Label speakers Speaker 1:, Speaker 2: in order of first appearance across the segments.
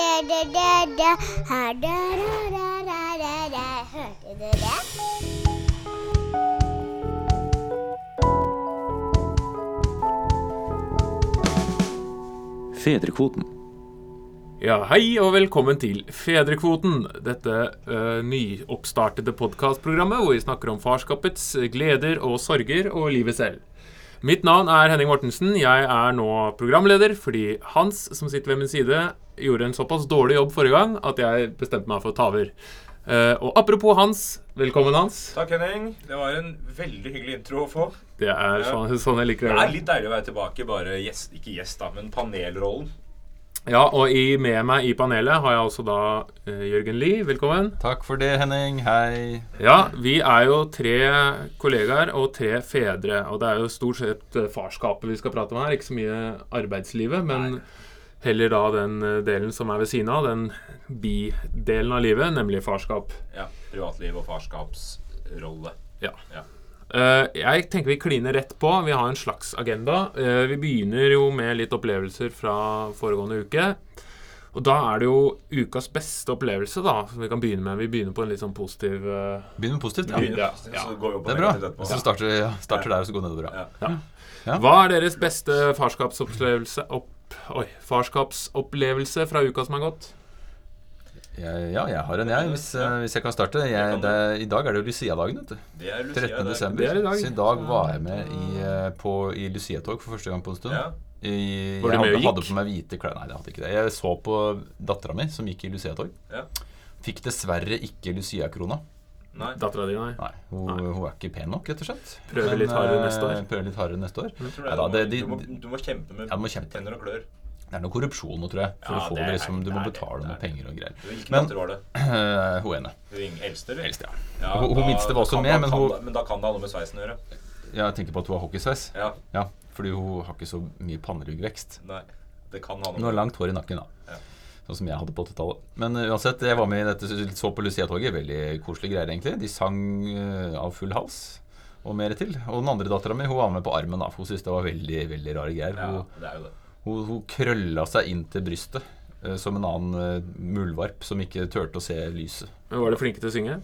Speaker 1: da-da-da-da, ha-da-da-da-da-da-da. Hørte du det?
Speaker 2: Fedrekvoten.
Speaker 3: Ja, Hei og velkommen til Fedrekvoten. Dette eh, nyoppstartede podkastprogrammet hvor vi snakker om farskapets gleder og sorger og livet selv. Mitt navn er Henning Mortensen. Jeg er nå programleder fordi Hans, som sitter ved min side, gjorde en såpass dårlig jobb forrige gang at jeg bestemte meg for å ta over. Eh, og apropos Hans. Velkommen, Hans.
Speaker 4: Takk, Henning. Det var en veldig hyggelig intro å få.
Speaker 3: Det er sånn, sånn jeg liker å
Speaker 4: Det er
Speaker 3: gjøre det.
Speaker 4: litt deilig å være tilbake, bare gjest, ikke gjest, da, men panelrollen.
Speaker 3: Ja, og i, med meg i panelet har jeg også da eh, Jørgen Lie. Velkommen.
Speaker 5: Takk for det, Henning. Hei.
Speaker 3: Ja, vi er jo tre kollegaer og tre fedre. Og det er jo stort sett eh, farskapet vi skal prate om her, ikke så mye arbeidslivet. Men heller da den eh, delen som er ved siden av, den bidelen av livet, nemlig farskap.
Speaker 4: Ja, Privatliv og farskapsrolle.
Speaker 3: Ja.
Speaker 4: Ja.
Speaker 3: Eh, jeg tenker vi kliner rett på. Vi har en slags agenda. Eh, vi begynner jo med litt opplevelser fra foregående uke. Og da er det jo ukas beste opplevelse, da, som vi kan begynne med. Vi begynner på en litt sånn positiv eh,
Speaker 5: Begynn med positivt. Ja.
Speaker 4: Begynner,
Speaker 3: Ja, ja.
Speaker 4: Så går vi opp og
Speaker 5: Det er bra.
Speaker 4: ned etterpå.
Speaker 5: Og så starter, ja, starter der, og så går nedover. Ja.
Speaker 3: Hva er deres beste farskapsopplevelse opp, Oi, farskapsopplevelse fra uka som har gått?
Speaker 5: Jeg, ja, jeg har en, jeg, hvis, eh, hvis jeg kan starte. Jeg, det, er- I dag er det jo Lucia-dagen, vet du.
Speaker 4: Det er Lucia.
Speaker 5: 13.
Speaker 4: det er-
Speaker 5: desember.
Speaker 3: Det er i dag.
Speaker 5: Så i dag var jeg med i, eh, på, i Lucia-tog for første gang på en stund.
Speaker 4: Ja.
Speaker 5: I,
Speaker 3: Var du med og
Speaker 5: jeg hadde,
Speaker 3: gikk?
Speaker 5: hadde på meg hvite klær. Nei, jeg hadde ikke det. Jeg så på dattera mi som gikk i Lucia-tog.
Speaker 4: Ja.
Speaker 5: Fikk dessverre ikke Lucia-krona.
Speaker 4: Nei.
Speaker 3: Dattera di, nei.
Speaker 5: Nei, hun, hun er ikke pen nok, rett og slett.
Speaker 3: Prøver litt hardere neste år.
Speaker 5: eh, Prøver litt hardere neste år.
Speaker 4: Jeg tror
Speaker 5: Nei da,
Speaker 4: det,
Speaker 5: det-
Speaker 4: du, må,
Speaker 5: de-
Speaker 4: du, må, du må kjempe med
Speaker 5: Ja, du må kjempe.
Speaker 4: tenner og klør.
Speaker 5: Det er noe korrupsjon nå, tror jeg. For
Speaker 4: Ja,
Speaker 5: å få
Speaker 4: det
Speaker 5: det,
Speaker 4: er-
Speaker 5: liksom,
Speaker 4: det
Speaker 5: du må
Speaker 4: er det,
Speaker 5: betale
Speaker 4: det er
Speaker 5: noe
Speaker 4: det.
Speaker 5: penger og greier.
Speaker 4: Hvilken
Speaker 5: Men
Speaker 4: datter var det?
Speaker 5: eh, hun ene.
Speaker 4: Hun yng- eldste, eller?
Speaker 5: Eldste, ja.
Speaker 4: Ja,
Speaker 5: Hun- hun
Speaker 4: da-
Speaker 5: minste var
Speaker 4: da
Speaker 5: også
Speaker 4: kan-
Speaker 5: med,
Speaker 4: da
Speaker 5: men
Speaker 4: kan
Speaker 5: hun-
Speaker 4: det- Men da kan det ha noe med sveisen å gjøre.
Speaker 5: Jeg tenker på at hun har hockeysveis.
Speaker 4: Ja.
Speaker 5: Ja, fordi hun har ikke så mye pannelyggvekst.
Speaker 4: Nei. Det kan ha
Speaker 5: Hun har
Speaker 4: noe med
Speaker 5: langt hår i nakken, da.
Speaker 4: Ja.
Speaker 5: Sånn som jeg hadde på 80-tallet. Men eh, uansett, jeg var med i dette så på Lucia-toget. Veldig koselige greier, egentlig. De sang eh, av full hals. Og mer til. Og den andre dattera mi var med på armen. da, for Hun syntes det var veldig veldig rare greier.
Speaker 4: Ja,
Speaker 5: Hun,
Speaker 4: det er jo det.
Speaker 5: Hun, hun krølla seg inn til brystet eh, som en annen eh, muldvarp som ikke turte å se lyset.
Speaker 3: Men Var de flinke til å synge?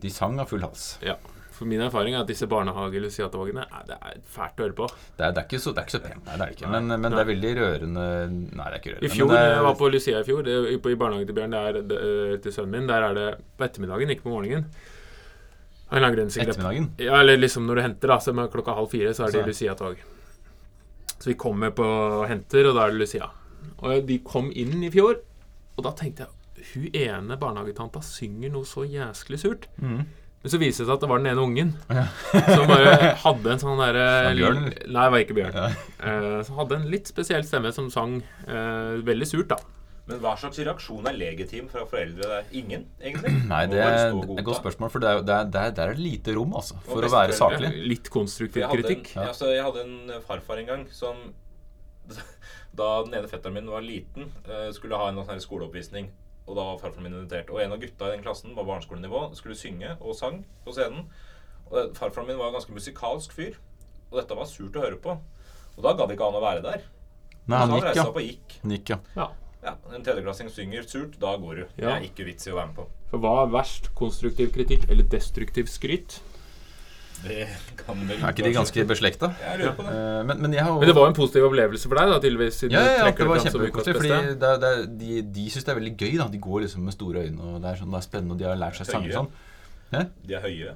Speaker 5: De sang av full hals.
Speaker 3: Ja. For min erfaring er at disse barnehage-luciatogene nei, Det er fælt å høre på.
Speaker 5: Det er, det er, ikke, så, det er ikke så pent, nei, det er det ikke. Men, men det er veldig rørende Nei, det er ikke rørende.
Speaker 3: I fjor,
Speaker 5: men eh, det
Speaker 3: jeg
Speaker 5: er,
Speaker 3: var på Lucia i fjor, det, i på- i barnehagen til Bjørn, der, det, eh, til sønnen min, der er det på ettermiddagen, ikke på morgenen. Av en eller annen grunn sikkert.
Speaker 5: Ettermiddagen?
Speaker 3: Ja, eller liksom når du henter, da. Så er det klokka halv fire så er det
Speaker 5: Så-
Speaker 3: Lucia-tog. Så vi kommer på og henter, og da er det Lucia. Og de kom inn i fjor, og da tenkte jeg hun ene barnehagetanta synger noe så jæsklig surt. Men så viser det seg at det var den ene ungen som bare hadde en sånn derre
Speaker 5: det Bjørn, eller?
Speaker 3: Nei, det var ikke Bjørn. Eh, som hadde en litt spesiell stemme som sang eh, veldig surt, da.
Speaker 4: Men hva slags reaksjon er legitim fra foreldre? Det er ingen, egentlig.
Speaker 5: Nei,
Speaker 4: Må
Speaker 5: det,
Speaker 4: bare
Speaker 5: er-
Speaker 4: stå og
Speaker 5: det er et
Speaker 4: godta.
Speaker 5: godt spørsmål, for det er, det er, det er, det er lite rom, altså, for å være
Speaker 4: besteforeldre.
Speaker 5: saklig.
Speaker 3: Litt konstruktiv
Speaker 4: Jeg hadde, en,
Speaker 3: kritikk.
Speaker 4: ja. altså, jeg hadde en farfar en gang som Da den ene fetteren min var liten, eh, skulle ha en sånn her skoleoppvisning. Og da var farfaren min invitert. Og en av gutta i den klassen var barneskolenivå, skulle synge og sang på scenen. Og det- farfaren min var en ganske musikalsk fyr, og dette var surt å høre på. Og da gadd ikke han å være der.
Speaker 5: Nei,
Speaker 4: så
Speaker 5: han
Speaker 4: han
Speaker 5: gikk,
Speaker 4: reiste seg opp
Speaker 5: ja.
Speaker 4: og gikk.
Speaker 5: Han gikk, ja.
Speaker 3: Ja.
Speaker 4: Ja, En tredjeklassing synger surt, da går du. Det
Speaker 3: Ja.
Speaker 4: er ikke vits i å være med på.
Speaker 3: For hva er verst? Konstruktiv kritikk eller destruktiv skryt?
Speaker 4: Det kan vel
Speaker 5: Er ikke de ganske beslekta?
Speaker 4: Jeg lurer på det.
Speaker 5: Eh, Men, men jeg har jo
Speaker 3: Men det var en positiv opplevelse for deg, da, tydeligvis? Siden
Speaker 5: Ja,
Speaker 3: du
Speaker 5: ja, ja,
Speaker 3: trekker
Speaker 5: det var
Speaker 3: fram som ukas
Speaker 5: kjempekoselig. Fordi
Speaker 3: beste.
Speaker 5: det, er- det, er- de, de syns det er veldig gøy. da De går liksom med store øyne, og det er, sånn, det er spennende, og de har lært seg sanger
Speaker 4: Høye.
Speaker 5: sånn.
Speaker 4: De er høye.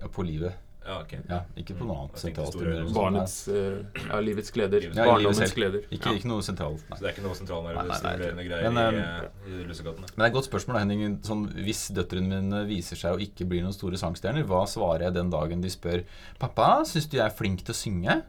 Speaker 5: Ja, på livet.
Speaker 4: Ja, ok.
Speaker 5: Ja, ikke på noe annet
Speaker 4: Jeg tenkte
Speaker 5: sentralt.
Speaker 4: store
Speaker 5: eller noe sånt.
Speaker 3: Barnets eh, ja, livets gleder.
Speaker 4: Ja, i
Speaker 5: Ja, i livet
Speaker 3: Barndommens
Speaker 5: selv.
Speaker 3: gleder.
Speaker 5: Ikke, ikke noe sentralt, nei.
Speaker 4: Så det er ikke noe
Speaker 5: Nei, nei, nei,
Speaker 4: sentralnervestimulerende
Speaker 5: jeg
Speaker 4: greier
Speaker 5: tror
Speaker 4: i,
Speaker 5: ikke.
Speaker 4: eh, i Lussekattene?
Speaker 5: Men det er et godt spørsmål, da, Henning. Sånn, hvis døtrene mine viser seg å ikke bli noen store sangstjerner, hva svarer jeg den dagen de spør 'Pappa, syns du jeg er flink til å synge?'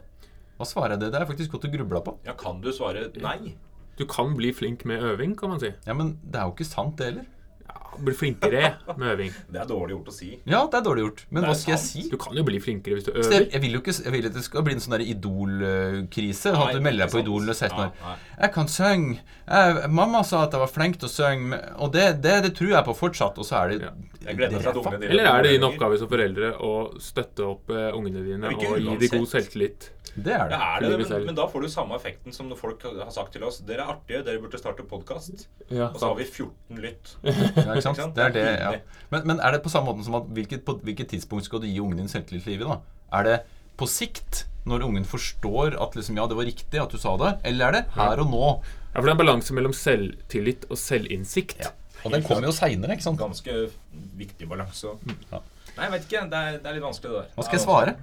Speaker 5: Hva svarer jeg det? Det er faktisk godt å gruble på.
Speaker 4: Ja, kan du svare nei?
Speaker 3: Du kan bli flink med øving, kan man si.
Speaker 5: Ja, Men det er jo ikke sant, det heller.
Speaker 3: Ja, bli flinkere med øving.
Speaker 4: Det er dårlig gjort å si.
Speaker 5: Ja, det er dårlig gjort. Men
Speaker 4: Det er
Speaker 5: hva skal jeg
Speaker 4: sant.
Speaker 5: si?
Speaker 3: Du kan jo bli flinkere hvis du
Speaker 5: Så Jeg,
Speaker 3: øver.
Speaker 5: jeg vil jo ikke jeg vil at det skal bli en sånn der idolkrise.
Speaker 4: Nei,
Speaker 5: At du
Speaker 4: ikke
Speaker 5: melder deg på
Speaker 4: sant.
Speaker 5: Idol når du er 16 år.
Speaker 4: Ja, nei.
Speaker 5: 'Jeg kan synge. Jeg, mamma sa at jeg var flink til å synge, men- og det, det, det tror jeg på fortsatt.' Og så er det
Speaker 4: Jeg gleder meg til at ungene dine
Speaker 3: Eller er det din
Speaker 4: blir
Speaker 3: oppgave som foreldre å støtte opp eh, ungene dine
Speaker 4: Men
Speaker 3: og
Speaker 4: ikke
Speaker 3: gi dem god
Speaker 4: uansett.
Speaker 3: selvtillit?
Speaker 5: Det er
Speaker 4: Ja,
Speaker 5: det.
Speaker 4: er det,
Speaker 3: Livet selv.
Speaker 4: men, men da får du samme effekten som når folk har sagt til oss Dere er artige, dere burde starte podkast.
Speaker 3: Ja,
Speaker 4: Og så har vi 14 lytt.
Speaker 5: Ja, ikke sant?
Speaker 4: sant?
Speaker 5: Det er det, ja.
Speaker 4: Pinlig.
Speaker 5: men, men er det på samme måten som at hvilket, på hvilket tidspunkt skal du gi ungen din selvtillit i livet? da? Er det på sikt, når ungen forstår at liksom, ja, det var riktig at du sa det, eller er det her og nå?
Speaker 3: Ja, for det er en balanse mellom selvtillit og selvinnsikt.
Speaker 5: Og den kommer jo seinere, ikke sant?
Speaker 4: Ganske viktig balanse. og-
Speaker 5: Ja.
Speaker 4: Nei, jeg vet ikke. Det er, det er litt vanskelig, det der.
Speaker 5: Hva skal jeg svare?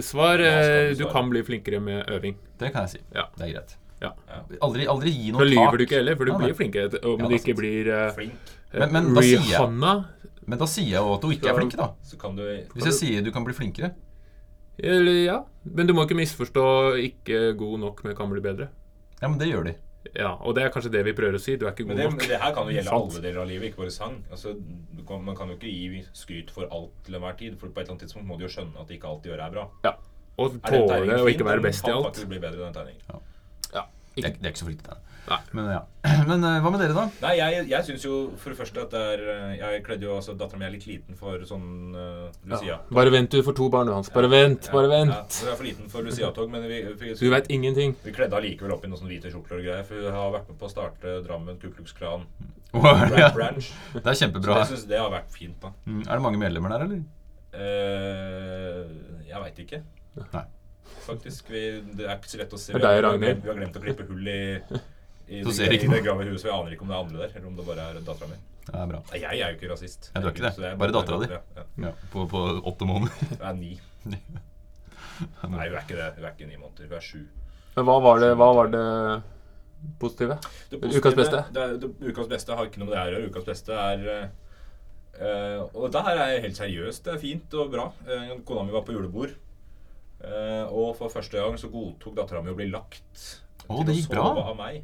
Speaker 3: Svar
Speaker 4: Ja, skal
Speaker 3: eh,
Speaker 4: du
Speaker 3: du
Speaker 4: svare?
Speaker 3: kan bli flinkere med øving.
Speaker 5: Det kan jeg si.
Speaker 3: Ja.
Speaker 5: Det er greit.
Speaker 3: Ja.
Speaker 5: Aldri, aldri gi
Speaker 3: Da
Speaker 5: noe
Speaker 3: lyver du
Speaker 5: tak.
Speaker 3: ikke heller, for du
Speaker 5: Nei, nei.
Speaker 3: blir flinkere til- om
Speaker 5: Ja,
Speaker 3: du
Speaker 5: det er
Speaker 3: ikke blir eh,
Speaker 4: Flink.
Speaker 5: Men- men da sier jeg-
Speaker 3: Rihanna
Speaker 5: Men da sier jeg jo at du ikke er flink, da.
Speaker 4: Så kan du
Speaker 5: Hvis jeg sier du kan bli flinkere.
Speaker 3: Eller, ja. Men du må ikke misforstå 'ikke god nok, men kan bli bedre'.
Speaker 5: Ja, men det gjør de.
Speaker 3: Ja, Og det er kanskje det vi prøver å si. Du er ikke god
Speaker 4: Men det,
Speaker 3: nok.
Speaker 4: men det her kan jo gjelde
Speaker 3: Sant.
Speaker 4: alle deler av livet, ikke bare sang. Altså, du kan, man kan jo ikke gi skryt for alt til enhver tid. For på et eller annet tidspunkt må du jo skjønne at ikke alt du gjør, er bra.
Speaker 3: Ja. Og
Speaker 4: Er den
Speaker 3: tåle
Speaker 4: tegningen
Speaker 3: å
Speaker 4: fin?
Speaker 3: ikke være
Speaker 4: Den
Speaker 3: best i
Speaker 4: kan
Speaker 3: alt.
Speaker 4: faktisk bli bedre, den tegningen.
Speaker 3: Ja.
Speaker 5: De er,
Speaker 3: Ikke,
Speaker 5: de er ikke så flinke til det.
Speaker 3: Nei.
Speaker 5: Men ja. Men eh, hva med dere, da?
Speaker 4: Nei, jeg, jeg syns jo for det første at det er eh, Jeg kledde jo altså Dattera mi er litt liten for sånn eh, Lucia.
Speaker 3: Bare vent, du får to barn, du, Hans. Bare vent, bare
Speaker 4: Ja,
Speaker 3: vent.
Speaker 4: hun er for liten for Lucia-tog, men vi, vi,
Speaker 3: Du veit ingenting.
Speaker 4: vi kledde henne likevel opp i noen sånne hvite kjortler og greier. For hun har vært med på å starte Drammen Ku Klux Klan
Speaker 5: Ja,
Speaker 4: Branch.
Speaker 5: det er
Speaker 4: Så
Speaker 5: kjempebra.
Speaker 4: jeg syns det har vært fint, da.
Speaker 5: Mm, Er det mange medlemmer der, eller?
Speaker 4: Eh, jeg veit ikke.
Speaker 5: Nei.
Speaker 4: Faktisk. Vi, det er ikke så lett å se.
Speaker 3: Det er deg,
Speaker 4: Vi har-
Speaker 3: Ragnhild.
Speaker 4: Vi har glemt å klippe hull i, i, i,
Speaker 5: Så ser ikke
Speaker 4: det
Speaker 5: noe.
Speaker 4: grave huset. Vi aner ikke om det er andre der, eller om det bare er dattera mi.
Speaker 5: Det er bra.
Speaker 4: Nei, Jeg er jo ikke rasist.
Speaker 5: Nei, du er ikke det.
Speaker 4: Så jeg-
Speaker 5: Bare datteren din.
Speaker 4: Ja, ja.
Speaker 5: Ja, på, på åtte måneder.
Speaker 4: Hun er ni. Nei, hun er ikke det. Hun er ikke ni måneder. Hun er sju.
Speaker 3: Men hva var det, hva var det positive?
Speaker 4: Det
Speaker 3: Ukas
Speaker 4: positive-
Speaker 3: beste?
Speaker 4: Det, er- det, ukas beste har ikke noe med det her å gjøre. Ukas beste er eh, eh, Og det her er helt seriøst. Det er fint og bra. Eh, kona mi var på julebord. eh, og for første gang så godtok dattera mi å bli lagt.
Speaker 5: Å,
Speaker 4: til
Speaker 5: det
Speaker 4: å
Speaker 5: gikk
Speaker 4: sove
Speaker 5: bra.
Speaker 4: Av meg.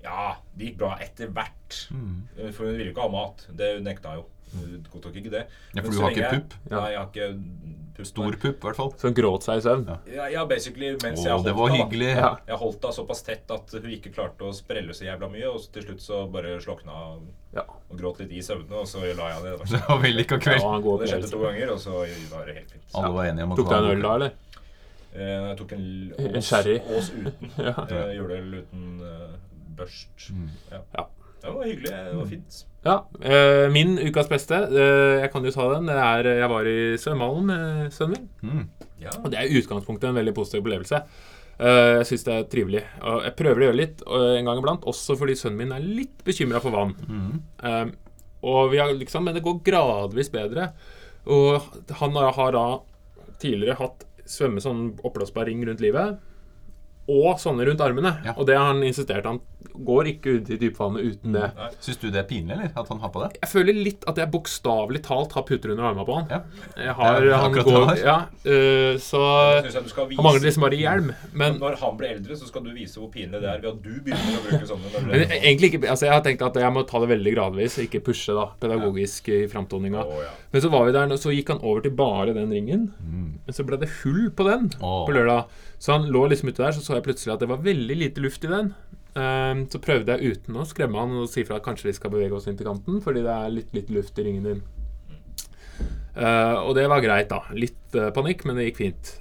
Speaker 4: Ja, det gikk bra etter hvert.
Speaker 5: Mm.
Speaker 4: Eh, For hun ville jo ikke ha mat. Det hun nekta jo. Hun godtok ikke det.
Speaker 5: Ja, for
Speaker 4: Men
Speaker 5: du
Speaker 4: så
Speaker 5: har ikke
Speaker 4: lenge jeg-
Speaker 5: pupp?
Speaker 4: Nei, jeg har ikke pupp.
Speaker 5: Stor pupp, i hvert fall.
Speaker 3: Som gråt seg i søvn?
Speaker 5: Ja.
Speaker 4: Ja, ja, basically mens jeg
Speaker 5: Å, det
Speaker 4: holdt
Speaker 5: var
Speaker 4: da, da.
Speaker 5: hyggelig.
Speaker 3: Ja.
Speaker 4: Jeg holdt da såpass tett at hun ikke klarte å sprelle så jævla mye, og så til slutt så bare slokna og
Speaker 3: Ja.
Speaker 4: gråt litt i søvnene, og så la jeg henne
Speaker 5: Det
Speaker 4: ned.
Speaker 5: var vellykka
Speaker 3: Det
Speaker 5: kveld.
Speaker 3: var en god
Speaker 4: Og det skjedde to
Speaker 3: opplevelse.
Speaker 4: ganger, og så var det helt
Speaker 3: Sånn.
Speaker 4: fint.
Speaker 5: Alle var enige om at
Speaker 3: Tok
Speaker 5: det
Speaker 3: deg
Speaker 5: var
Speaker 3: en
Speaker 5: god
Speaker 3: øl da, eller?
Speaker 4: Eh, Jeg tok en l-
Speaker 3: En
Speaker 4: Ås,
Speaker 3: sherry.
Speaker 4: ås uten.
Speaker 3: Ja. Mm.
Speaker 4: eh, Juleøl uten eh, børst. Ja.
Speaker 3: Ja.
Speaker 4: Det var hyggelig. Det var fint.
Speaker 3: ja. eh, Min ukas beste, eh, jeg kan jo ta den, det er eh, jeg var i svømmehallen med sønnen min.
Speaker 4: Ja.
Speaker 3: Og det er i utgangspunktet en veldig positiv opplevelse. Eh, Jeg syns det er trivelig. Og jeg prøver å gjøre litt eh, en gang iblant, også fordi sønnen min er litt bekymra for vann.
Speaker 5: Mhm.
Speaker 3: Eh, og vi har liksom, Men det går gradvis bedre. Og han har- har da tidligere hatt svømme sånn oppblåsbar ring rundt livet. Og sånne rundt armene.
Speaker 5: Ja.
Speaker 3: Og det har han insistert Han går ikke ut i dypvannet uten det.
Speaker 5: Syns du det er pinlig, eller? At han har på det?
Speaker 3: Jeg føler litt at jeg bokstavelig talt har puter under armene på han.
Speaker 5: Ja.
Speaker 3: Jeg har,
Speaker 5: Ja,
Speaker 3: han
Speaker 5: akkurat
Speaker 3: går,
Speaker 5: det
Speaker 3: ja, eh,
Speaker 4: Jeg
Speaker 3: så
Speaker 4: synes jeg du skal
Speaker 3: han mangler
Speaker 4: vise
Speaker 3: liksom bare hjelm. Men
Speaker 4: Når han blir eldre, så skal du vise hvor pinlig det er ved at du begynner å bruke sånne. når du
Speaker 3: Men
Speaker 4: er sånn.
Speaker 3: egentlig ikke, altså Jeg har tenkt at jeg må ta det veldig gradvis, ikke pushe da, pedagogisk i framtoninga.
Speaker 4: Å, ja. Mm.
Speaker 3: Men så var vi der, og så gikk han over til bare den ringen. Men så ble det hull på den
Speaker 5: Åh.
Speaker 3: på lørdag. Så han lå liksom ute der, så så jeg plutselig at det var veldig lite luft i den. Ehm, så prøvde jeg uten å skremme han og si fra at kanskje vi skal bevege oss inn til kanten, fordi det er litt lite luft i ringen din.
Speaker 4: Mm.
Speaker 3: Eh, og det var greit, da. Litt eh, panikk, men det gikk fint.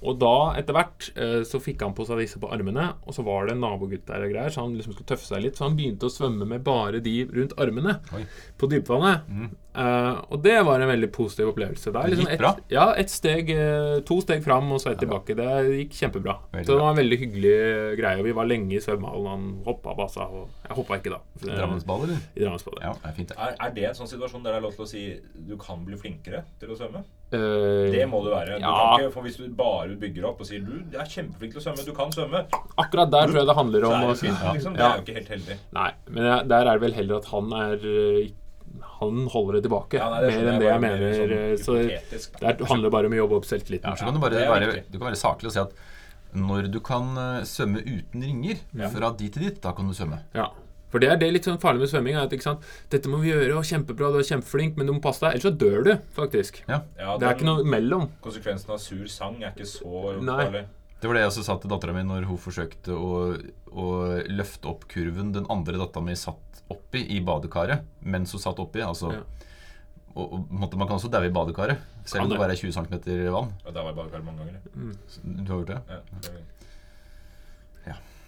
Speaker 3: Og da, etter hvert, eh, så fikk han på seg disse på armene, og så var det en nabogutt der og greier, så han liksom skulle tøffe seg litt, så han begynte å svømme med bare de rundt armene
Speaker 5: Oi. Mm.
Speaker 3: på dypvannet. Eh, og det var en veldig positiv opplevelse. Det er
Speaker 5: Det
Speaker 3: liksom
Speaker 5: gikk
Speaker 3: et,
Speaker 5: bra.
Speaker 3: ja, et steg, eh, to steg fram og så ett tilbake. Det gikk kjempebra.
Speaker 5: Veldig
Speaker 3: så det
Speaker 5: bra.
Speaker 3: var en veldig hyggelig eh, greie. Og vi var lenge i svømmehallen. Han hoppa bassa, og jeg hoppa ikke da. for det-
Speaker 5: Drammensball, eller?
Speaker 3: I Drammensbadet.
Speaker 5: Ja, det er fint, det.
Speaker 4: Er, er det en sånn situasjon der det er lov til å si du kan bli flinkere til å svømme?
Speaker 3: Eh,
Speaker 4: Det må det være. Du
Speaker 3: Ja.
Speaker 4: kan ikke, for Hvis du bare bygger opp og sier du jeg er kjempeflink til å svømme, du kan svømme,
Speaker 3: akkurat der tror jeg det handler
Speaker 4: så
Speaker 3: om
Speaker 4: er
Speaker 3: å
Speaker 4: det fint. Liksom. Det
Speaker 3: Ja.
Speaker 4: er jo ikke helt heldig.
Speaker 3: Nei, men jeg, der er det vel heller at han er eh, Han holder det tilbake.
Speaker 4: Ja, nei, det skjønner
Speaker 3: mer enn det
Speaker 4: jeg
Speaker 3: jeg mener.
Speaker 4: bare, mer
Speaker 3: eh,
Speaker 4: sånn
Speaker 3: Så
Speaker 4: hypotetisk.
Speaker 3: det er- handler bare om å jobbe opp
Speaker 5: Ja,
Speaker 3: selvtilliten.
Speaker 5: så kan du, bare
Speaker 4: det er
Speaker 5: være,
Speaker 4: riktig.
Speaker 5: du kan være saklig og si at når du kan eh, svømme uten ringer, fra dit til dit, da kan du svømme.
Speaker 3: Ja. For det er det litt sånn farlig med svømming. Er at, ikke sant? Dette må vi gjøre, og kjempebra, du er kjempeflink, men du må passe deg, ellers så dør du, faktisk.
Speaker 5: Ja,
Speaker 4: Ja,
Speaker 3: Det er ikke noe mellom.
Speaker 4: Konsekvensen av sur sang er ikke så
Speaker 3: Nei.
Speaker 4: farlig.
Speaker 5: Det var det jeg også sa til dattera mi når hun forsøkte å, å løfte opp kurven den andre dattera mi satt oppi i badekaret mens hun satt oppi. Altså
Speaker 3: Ja.
Speaker 5: Og, og på en måte, Man kan også daue i badekaret, selv om
Speaker 3: Kan
Speaker 5: det
Speaker 3: det.
Speaker 5: bare er 20 cm vann.
Speaker 4: Og der var jeg badekar mange ganger. jeg.
Speaker 5: Så Du har gjort det?
Speaker 4: Ja, det var-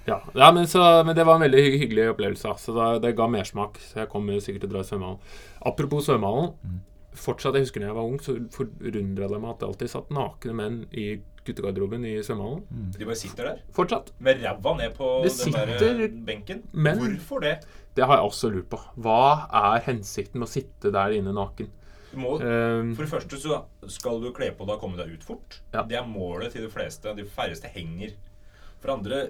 Speaker 3: Ja, ja men, så, men det var en veldig hy- hyggelig opplevelse. da. Så det, det ga mersmak. Så jeg kommer sikkert til å dra i svømmehallen. Apropos svømmehallen.
Speaker 4: Mm.
Speaker 3: Fortsatt, jeg husker da jeg var ung, så forundra det meg at det alltid satt nakne menn i guttegarderoben i svømmehallen.
Speaker 4: de bare sitter der
Speaker 3: Fortsatt.
Speaker 4: med ræva ned på
Speaker 3: Det
Speaker 4: den der
Speaker 3: sitter
Speaker 4: benken.
Speaker 3: menn.
Speaker 4: Hvorfor det?
Speaker 3: Det har jeg også lurt på. Hva er hensikten med å sitte der inne naken?
Speaker 4: Du må,
Speaker 3: Ehm,
Speaker 4: for det første så skal du kle på deg og komme deg ut fort.
Speaker 3: Ja.
Speaker 4: Det er målet til de fleste. De færreste henger. For andre,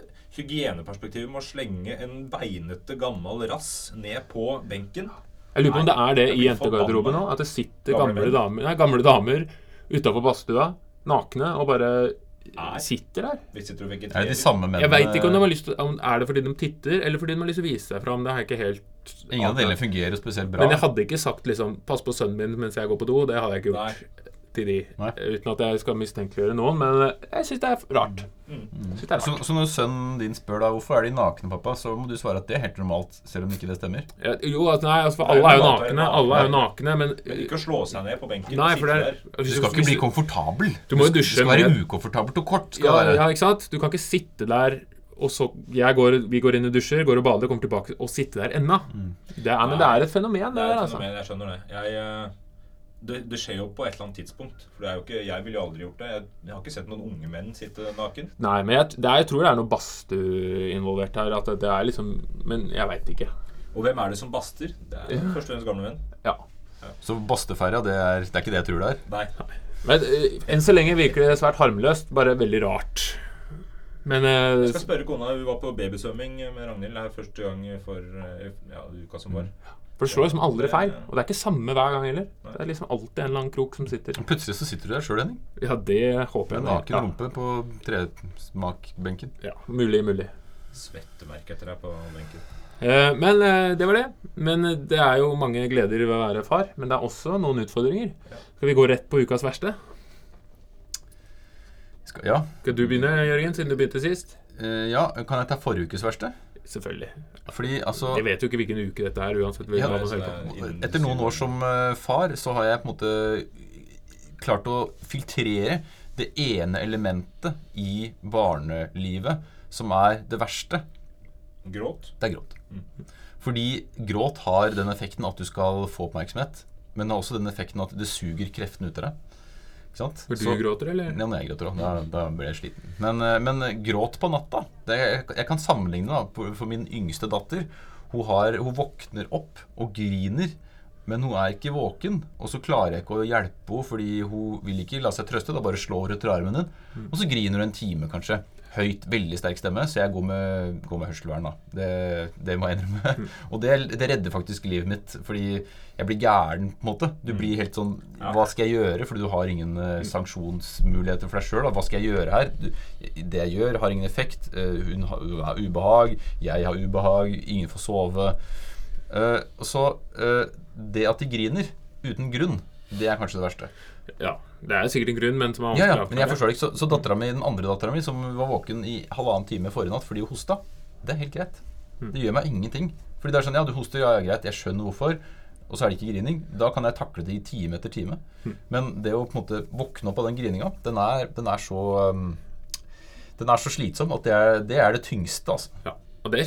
Speaker 4: hygieneperspektivet med å slenge en beinete, gammel rass ned på benken.
Speaker 3: jeg lurer på om det er det
Speaker 4: jeg
Speaker 3: i
Speaker 4: blir
Speaker 3: jentegarderoben
Speaker 4: forbanna.
Speaker 3: nå. At det sitter
Speaker 4: Gamle
Speaker 3: gamle
Speaker 4: menn.
Speaker 3: damer, nei, gamle damer utafor badstua, nakne, og bare
Speaker 4: Nei.
Speaker 3: sitter der.
Speaker 4: Hvis sitter og
Speaker 5: Er det
Speaker 4: vegeterer.
Speaker 5: de samme mennene
Speaker 3: Jeg veit ikke
Speaker 5: eh,
Speaker 3: om de har lyst til om, Er det fordi de titter, eller fordi de har lyst til å vise seg fram. Det har jeg ikke helt
Speaker 5: Ingen av
Speaker 3: avklart.
Speaker 5: delene fungerer spesielt bra.
Speaker 3: Men jeg hadde ikke sagt liksom 'pass på sønnen min mens jeg går på do'. Det hadde jeg ikke gjort til de.
Speaker 5: Nei.
Speaker 3: Uten at jeg skal mistenkeliggjøre noen, men eh, jeg syns det er rart.
Speaker 4: Mm.
Speaker 3: Jeg Synes det er
Speaker 5: Så,
Speaker 3: rart.
Speaker 5: så når sønnen din spør da hvorfor er de nakne, pappa, så må du svare at det er helt normalt, selv om ikke det stemmer.
Speaker 3: Ja, Jo, altså, nei, altså, for
Speaker 4: Det er jo
Speaker 3: alle er jo
Speaker 4: noe annet enn
Speaker 3: nakne. Alle er jo
Speaker 4: nakne.
Speaker 3: nakne, men
Speaker 4: Men ikke å slå seg ned på benken.
Speaker 3: Nei,
Speaker 4: og
Speaker 3: for
Speaker 4: sitte
Speaker 3: det er
Speaker 4: der.
Speaker 5: Du skal ikke bli komfortabel.
Speaker 3: Du må jo
Speaker 5: Det
Speaker 3: dusje
Speaker 5: skal være
Speaker 3: med-
Speaker 5: ukomfortabelt og kort. Skal
Speaker 3: ja,
Speaker 5: det være.
Speaker 3: ja, ikke sant? Du kan ikke sitte der og så jeg går, Vi går inn og dusjer, går og bader, kommer tilbake og sitte der ennå. Det er, men det er et fenomen, det
Speaker 4: Det
Speaker 3: der,
Speaker 4: er et
Speaker 3: altså.
Speaker 4: fenomen, jeg skjønner det. Jeg, eh, det, det skjer jo på et eller annet tidspunkt. For det er jo ikke, Jeg ville jo aldri gjort det. Jeg, jeg har ikke sett noen unge menn sitte naken.
Speaker 3: Nei, men jeg, det er, jeg tror det er noe badstue involvert her. At det, det er liksom Men jeg veit ikke.
Speaker 4: Og hvem er det som baster? Det er først og fremst gamle menn.
Speaker 3: Ja.
Speaker 5: Så basteferja, det er, det er ikke det jeg tror det er.
Speaker 4: Nei.
Speaker 3: Men eh, enn så lenge virker det svært harmløst, bare veldig rart. Men eh,
Speaker 4: Jeg skal spørre kona. Hun var på babysvømming med Ragnhild her første gang for eh, ja, uka som var.
Speaker 3: for det slår liksom aldri feil. Og det er ikke samme hver gang heller. Det er liksom alltid en eller annen krok som sitter.
Speaker 5: Plutselig så sitter du der sjøl, Henning.
Speaker 3: Ja, det håper jeg.
Speaker 5: Med en
Speaker 3: det-
Speaker 5: naken
Speaker 3: Ja,
Speaker 5: rumpe på tresmakbenken.
Speaker 3: ja, mulig, mulig.
Speaker 4: Svettemerke etter deg på benken.
Speaker 3: Eh, Men eh, det var det. Men eh, det er jo mange gleder ved å være far. Men det er også noen utfordringer. Skal vi gå rett på ukas verste?
Speaker 5: Skal, ja.
Speaker 3: Skal du begynne, Jørgen, siden du begynte sist?
Speaker 5: Eh, ja, kan jeg ta forrige ukes verste?
Speaker 3: Selvfølgelig.
Speaker 5: Fordi altså
Speaker 3: Jeg vet jo ikke hvilken uke dette er uansett.
Speaker 5: Ja, altså,
Speaker 3: hva man
Speaker 4: så
Speaker 3: hører
Speaker 4: det
Speaker 3: på.
Speaker 4: er- innen-
Speaker 5: Etter noen år som eh, far, så har jeg på en måte klart å filtrere det ene elementet i barnelivet som er det verste.
Speaker 4: Gråt.
Speaker 5: Det er gråt. Fordi gråt har den effekten at du skal få oppmerksomhet, men det har også den effekten at det suger kreftene ut av deg. Ikke sant?
Speaker 3: For du
Speaker 5: Så-
Speaker 3: gråter, eller?
Speaker 5: Ja, når jeg gråter òg. Da, da blir jeg sliten. Men, eh, men gråt på natta det, Jeg kan sammenligne da, på- for min yngste datter. Hun, har, hun våkner opp og griner, men hun er ikke våken. Og så klarer jeg ikke å hjelpe henne, fordi hun vil ikke la seg trøste. Da bare slår hun etter armen din.
Speaker 3: Mm.
Speaker 5: Og så griner hun en time, kanskje. Høyt, veldig sterk stemme, så jeg går med, går med hørselvern, da. Det, det må jeg innrømme. Og det, det redder faktisk livet mitt, fordi jeg blir gæren, på en måte. Du blir helt sånn Hva skal jeg gjøre? Fordi du har ingen eh, sanksjonsmuligheter for deg sjøl. Hva skal jeg gjøre her? Du, det jeg gjør, har ingen effekt. Eh, hun har hun har ubehag. Jeg har ubehag. Ingen får sove. Eh, så eh, det at de griner uten grunn, det er kanskje det verste.
Speaker 3: Ja. Det er sikkert en grunn, men som er
Speaker 5: Ja, ja,
Speaker 3: vanskelig å
Speaker 5: men jeg
Speaker 3: avklare.
Speaker 5: forstår det ikke. Så, så dattera mi, den andre dattera mi, som var våken i halvannen time forrige natt fordi hun hosta, det er helt greit. Det gjør meg ingenting. Fordi det er sånn, ja, du hoster, ja, ja, greit, jeg skjønner hvorfor. Og så er det ikke grining. Da kan jeg takle det i time etter time. Men det å på en måte våkne opp av den grininga, den er, den er så um, Den er så slitsom at det er det, er det tyngste, altså.
Speaker 3: Ja, og det,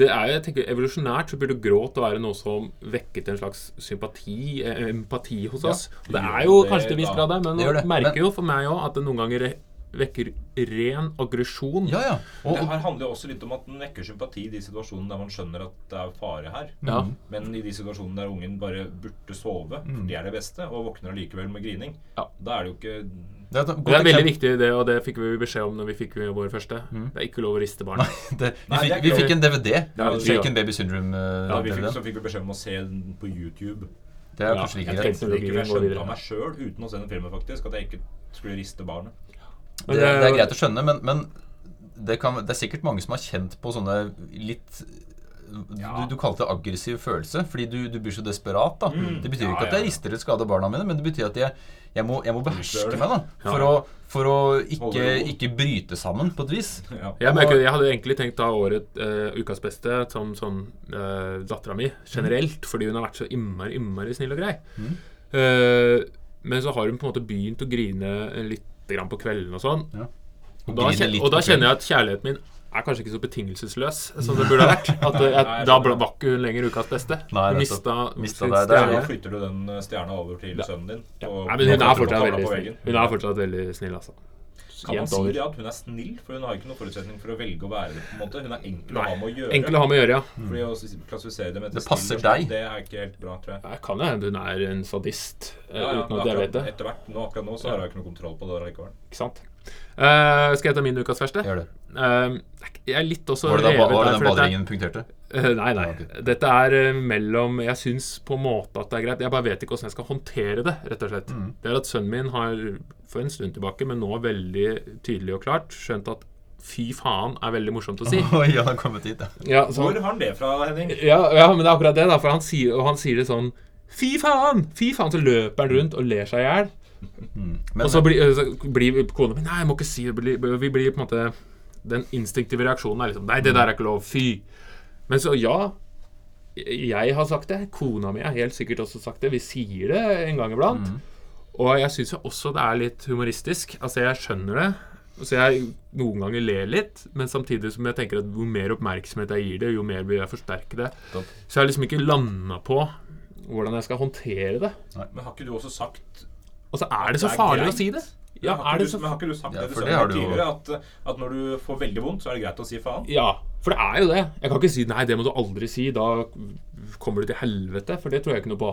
Speaker 3: det er jo, jeg tenker, Evolusjonært så burde gråt å være noe som vekket en slags sympati, eh, empati hos oss. og det er jo
Speaker 4: det
Speaker 3: kanskje til en viss
Speaker 4: da.
Speaker 3: grad der, men
Speaker 5: Det gjør det,
Speaker 3: jeg merker
Speaker 5: men-
Speaker 3: jo for meg òg at det noen ganger vekker ren aggresjon.
Speaker 5: Ja, ja. Og,
Speaker 4: Det
Speaker 5: og,
Speaker 4: her handler jo også litt om at den vekker sympati i de situasjonene der man skjønner at det er fare her.
Speaker 3: Ja.
Speaker 4: Men i de situasjonene der ungen bare burde sove, for det er det beste, og våkner allikevel med grining,
Speaker 3: Mm. Ja.
Speaker 4: da er det jo ikke
Speaker 5: det er et godt
Speaker 3: Det er veldig
Speaker 5: eksempel.
Speaker 3: viktig, det, og det fikk vi beskjed om når vi fikk vår første. Det er ikke lov å riste barn.
Speaker 5: Det, vi,
Speaker 4: Nei, det er
Speaker 5: fikk, vi
Speaker 4: ikke-
Speaker 5: fikk en DVD.
Speaker 3: er litt
Speaker 5: Shake
Speaker 3: gøy.
Speaker 5: and Baby Syndrome. eh,
Speaker 4: Da vi fikk,
Speaker 5: DVD.
Speaker 4: så fikk vi beskjed om å se den på YouTube.
Speaker 5: Det er
Speaker 3: Ja,
Speaker 5: kanskje
Speaker 3: jeg
Speaker 5: like greit.
Speaker 3: tenkte-
Speaker 4: Det
Speaker 3: Teknologien
Speaker 4: gikk jo,
Speaker 3: går
Speaker 4: Jeg skjønte
Speaker 3: videre.
Speaker 4: av meg sjøl, uten å se den filmen faktisk, at jeg ikke skulle riste barnet.
Speaker 3: Men
Speaker 5: det,
Speaker 3: det-
Speaker 5: det er greit å skjønne, men, men det, kan, det er sikkert mange som har kjent på sånne litt
Speaker 4: Ja.
Speaker 5: du, du kalte det aggressiv følelse, fordi du, du blir så desperat. da
Speaker 3: Mm.
Speaker 5: Det betyr
Speaker 4: Ja,
Speaker 5: ikke at
Speaker 4: ja,
Speaker 5: jeg
Speaker 4: ja.
Speaker 5: rister eller skader barna mine, men det betyr at jeg, jeg, må, jeg må
Speaker 4: Utøver
Speaker 5: beherske
Speaker 4: det.
Speaker 5: meg da for å, for å ikke,
Speaker 4: Holde roen.
Speaker 5: ikke bryte sammen på et vis.
Speaker 4: Ja.
Speaker 3: Jeg, merker, jeg hadde egentlig tenkt da året eh, ukas beste sånn, som, som eh, dattera mi generelt, fordi hun har vært så innmari, innmari snill og grei. Eh, men så har hun på en måte begynt å grine litt grann på kvelden og sånn. Og da, kjen- og da kjenner jeg at kjærligheten min er kanskje ikke så betingelsesløs som det burde ha vært. At eh, jeg,
Speaker 4: Nei, jeg
Speaker 3: da
Speaker 4: skjønner.
Speaker 3: ble, var ikke hun lenger ukas beste.
Speaker 5: Nei,
Speaker 3: hun
Speaker 5: nettopp.
Speaker 3: mista,
Speaker 5: Mistet
Speaker 3: sin
Speaker 5: deg der,
Speaker 4: Så da
Speaker 3: stjerne.
Speaker 4: flytter du den eh, stjerna over til
Speaker 3: Ja.
Speaker 4: sønnen din.
Speaker 3: Ja.
Speaker 4: og-
Speaker 3: Nei, men hun
Speaker 4: og
Speaker 3: er
Speaker 4: putter
Speaker 3: fortsatt
Speaker 4: tavla
Speaker 3: veldig
Speaker 4: på
Speaker 3: snill.
Speaker 4: veggen.
Speaker 3: Hun er fortsatt veldig snill, altså.
Speaker 4: Kan man
Speaker 3: Jevnt
Speaker 4: si
Speaker 3: over.
Speaker 4: det at hun er snill, for hun har ikke noe forutsetning for å velge å være det. på en måte Hun er enkel å
Speaker 3: Nei.
Speaker 4: ha med å gjøre.
Speaker 3: Enkel å ha med å gjøre, ja.
Speaker 4: Fordi å s- klassifisere det med
Speaker 5: Det
Speaker 4: snill
Speaker 5: passer
Speaker 4: og snill,
Speaker 5: deg.
Speaker 4: Det er ikke helt bra, tror jeg.
Speaker 3: Det kan jo hende hun er en sadist, eh,
Speaker 4: Ja, ja,
Speaker 3: uten at jeg
Speaker 4: akkurat-
Speaker 3: vet det.
Speaker 4: Etter hvert, nå, akkurat nå så har jeg ikke noe kontroll på det likevel.
Speaker 3: Ikke sant? Eh, skal jeg ta min ukas verste?
Speaker 5: Gjør det.
Speaker 3: Eh, jeg er litt også
Speaker 5: Var det da
Speaker 3: revet
Speaker 5: var det
Speaker 3: der,
Speaker 5: den
Speaker 3: for dette er-
Speaker 5: baderingen punkterte?
Speaker 3: Eh, Nei, nei. Dette er eh, mellom Jeg syns på en måte at det er greit. Jeg bare vet ikke åssen jeg skal håndtere det, rett og slett.
Speaker 5: Mm.
Speaker 3: Det er at sønnen min har for en stund tilbake, men nå veldig tydelig og klart, skjønt at fy faen er veldig morsomt å si.
Speaker 5: Oi, han har kommet hit, ja.
Speaker 3: Ja, så,
Speaker 4: Hvor har han det fra, Henning?
Speaker 3: ja, ja men det er akkurat det, da. For han sier, og han sier det sånn Fy faen! Fy faen! Så løper han rundt og ler seg i hjel.
Speaker 5: Men,
Speaker 3: Og så blir, så blir kona mi Nei, jeg må ikke si det. blir- Vi blir på en måte Den instinktive reaksjonen er liksom Nei, det der er ikke lov. Fy. Men så, ja. Jeg har sagt det. Kona mi har helt sikkert også sagt det. Vi sier det en gang iblant. Og jeg syns jo også det er litt humoristisk. Altså, jeg skjønner det. Så jeg noen ganger ler litt, men samtidig som jeg tenker at jo mer oppmerksomhet jeg gir det, jo mer vil jeg forsterke det.
Speaker 5: Topp.
Speaker 3: Så jeg har liksom ikke landa på hvordan jeg skal håndtere det.
Speaker 4: Men har ikke du også sagt
Speaker 3: Og så er det så
Speaker 4: Det er
Speaker 3: farlig å
Speaker 4: greit.
Speaker 3: si det. Ja,
Speaker 4: Ja,
Speaker 3: er
Speaker 4: har ikke
Speaker 3: det
Speaker 4: du,
Speaker 3: så
Speaker 4: men har ikke du sagt
Speaker 5: Ja,
Speaker 4: det til
Speaker 5: for det
Speaker 4: sønnen
Speaker 5: har
Speaker 4: din
Speaker 5: du jo-
Speaker 4: tidligere? At, at når du får veldig vondt, så er det greit å si faen?
Speaker 3: Ja, for det er jo det. Jeg kan ikke si 'nei, det må du aldri si', da kommer du til helvete, for det tror jeg ikke noe på.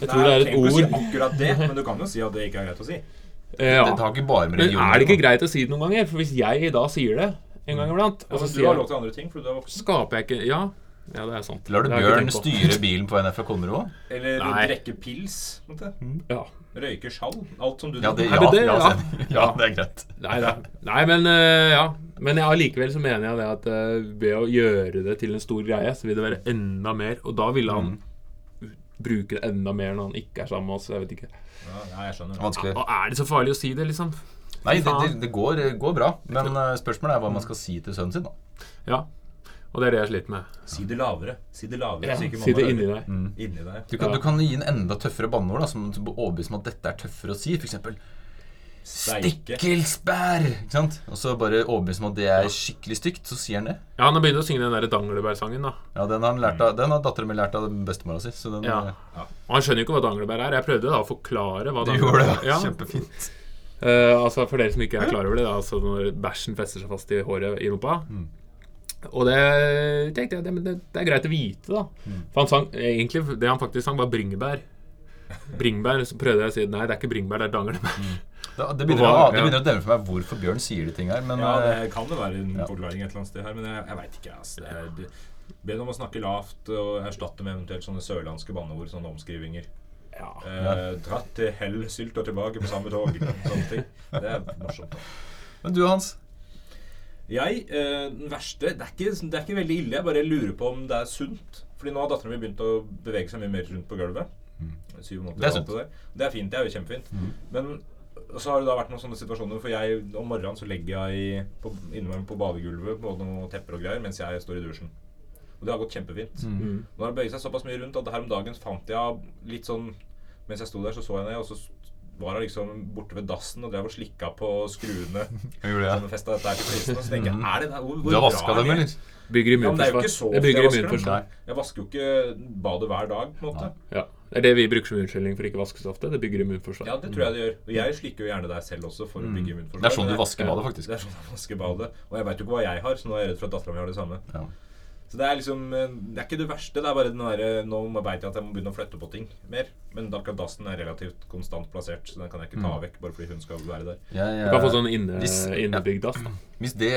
Speaker 3: Jeg tror det er et
Speaker 4: du trenger ikke å
Speaker 3: ord.
Speaker 4: Si akkurat det, men du kan jo si at det ikke er greit å si.
Speaker 3: Eh,
Speaker 5: det
Speaker 3: Ja.
Speaker 5: har ikke bare med
Speaker 3: Men
Speaker 5: religion
Speaker 3: er det ikke greit å si det noen ganger? For hvis jeg da sier det en gang iblant,
Speaker 4: Ja,
Speaker 3: og så
Speaker 4: men du har
Speaker 3: sier jeg,
Speaker 4: lov til andre ting, fordi du er voksen.
Speaker 3: skaper jeg ikke Ja, ja det er sant.
Speaker 5: Lar du
Speaker 3: Det har jeg ikke
Speaker 5: Bjørn
Speaker 3: tenkt på.
Speaker 5: styre bilen på vei ned fra Konnerud? også?
Speaker 4: Eller du
Speaker 3: Nei. Mm.
Speaker 4: drikker pils. på en måte.
Speaker 3: Ja.
Speaker 4: Røyker skjall. Alt som du
Speaker 5: Ja, det,
Speaker 3: Er
Speaker 5: ja,
Speaker 3: det det,
Speaker 5: ja,
Speaker 3: ja?
Speaker 5: Sten. ja, det er greit.
Speaker 3: Nei, da. Nei men eh, ja. Men ja, allikevel så mener jeg det at eh, ved å gjøre det til en stor greie, så vil det være enda mer. Og da ville han
Speaker 5: Mm.
Speaker 3: bruke det enda mer når han ikke er sammen med oss. Jeg vet ikke.
Speaker 4: Ja, ja, jeg skjønner.
Speaker 5: Vanskelig.
Speaker 3: Og er det så farlig å si det, liksom?
Speaker 5: Nei, det, det, det går, går bra. Men eh, spørsmålet er hva man skal si til sønnen sin, da.
Speaker 3: Ja. Og det er det jeg sliter med.
Speaker 4: Si det lavere. Si det lavere.
Speaker 3: Ja,
Speaker 4: så ikke
Speaker 3: si det
Speaker 4: mamma
Speaker 3: inni
Speaker 4: hører.
Speaker 3: deg.
Speaker 4: Inni deg.
Speaker 5: Du kan,
Speaker 3: Ja.
Speaker 5: du kan gi en enda tøffere banneord da, som som overbeviser meg at dette er tøffere å si. F.eks.
Speaker 4: Steike.
Speaker 5: stikkelsbær! Ikke sant? Og så bare overbeviser meg at det er skikkelig stygt, så sier han det.
Speaker 3: Ja, han har begynt å synge den der Danglebær-sangen, da.
Speaker 5: Ja, Den har, han lært av- den har dattera mi lært av bestemora si. Så den,
Speaker 3: Mm.
Speaker 5: eh,
Speaker 3: Ja. Og han skjønner jo ikke hva danglebær er. Jeg prøvde da å forklare hva
Speaker 5: Du gjorde det.
Speaker 3: danglebær er. Ja.
Speaker 5: Kjempefint.
Speaker 3: Eh, altså For dere som ikke er klar over det, da, altså når bæsjen fester seg fast i håret i rumpa.
Speaker 4: Mm.
Speaker 3: Og det tenkte jeg, det, men det, det er greit å vite, da.
Speaker 4: Mm.
Speaker 3: For han sang egentlig Det han faktisk sang, var bringebær. Bringebær, så prøvde jeg å si nei, det er ikke bringebær, det er danglebær.
Speaker 5: Da, det begynner,
Speaker 3: Og hva-
Speaker 5: å, det begynner å demre for meg hvorfor Bjørn sier de ting her. Men
Speaker 4: Ja,
Speaker 5: eh,
Speaker 4: det kan det være en forklaring et eller annet sted her, men jeg, jeg veit ikke. Altså. Det er, du, be dem om å snakke lavt og erstatte med eventuelt sånne sørlandske banneord, sånne omskrivinger.
Speaker 3: Ja.
Speaker 4: Eh, dratt til helsylt og tilbake på samme tog. Sånne ting. Det er morsomt. da.
Speaker 5: eh, men du, Hans.
Speaker 4: Jeg, eh, den verste det er, ikke, det er ikke veldig ille, jeg bare lurer på om det er sunt. Fordi nå har dattera mi begynt å bevege seg mye mer rundt på gulvet. Syv måneder
Speaker 5: Mm. Det er Mm.
Speaker 4: og alt
Speaker 5: sunt.
Speaker 4: der. Det er fint. Det er jo kjempefint. Men så har det da vært noen sånne situasjoner For jeg om morgenen så legger jeg på, inni meg på badegulvet på noen tepper og greier mens jeg står i dusjen. Og det har gått kjempefint.
Speaker 5: Mm.
Speaker 4: Nå har det bøyd seg såpass mye rundt at her om dagen fant jeg litt sånn Mens jeg sto der, så så jeg ned, og så var hun liksom borte ved dassen og drev og slikka på skruene. Som
Speaker 5: Du
Speaker 4: festet dette her til prisen, og så tenker jeg, er det der, hvor, hvor
Speaker 5: Mm. har
Speaker 4: bra
Speaker 5: vaska
Speaker 4: er
Speaker 5: dem,
Speaker 4: det?
Speaker 5: eller?
Speaker 3: Bygger
Speaker 4: Ja, men det er jo ikke så
Speaker 3: immunforsvar. Det
Speaker 4: ofte
Speaker 3: bygger
Speaker 4: jeg vasker dem.
Speaker 3: immunforsvar.
Speaker 4: Jeg vasker jo ikke badet hver dag, på en måte.
Speaker 3: Ja. Det er det vi bruker som unnskyldning for ikke å vaske så ofte. Det bygger immunforsvar.
Speaker 4: Ja, det tror jeg det gjør. Og jeg slikker jo gjerne deg selv også for å bygge immunforsvar.
Speaker 5: Det er sånn
Speaker 4: men
Speaker 5: du vasker badet,
Speaker 4: Det
Speaker 5: faktisk.
Speaker 4: er sånn jeg vasker badet. Og jeg veit jo ikke hva jeg har, så nå er jeg redd for at dattera mi har det samme.
Speaker 5: Ja.
Speaker 4: Så det er liksom eh, Det er ikke det verste. Det er bare den derre Nå veit jeg at jeg må begynne å flytte på ting mer. Men akkurat dassen er relativt konstant plassert, så den kan jeg ikke
Speaker 5: Mm.
Speaker 4: ta vekk bare fordi hun skal være der.
Speaker 5: Jeg,
Speaker 3: Du kan få
Speaker 5: eh,
Speaker 3: sånn inne,
Speaker 5: Hvis- ja.
Speaker 3: innebygd dass. da.
Speaker 5: Hvis det,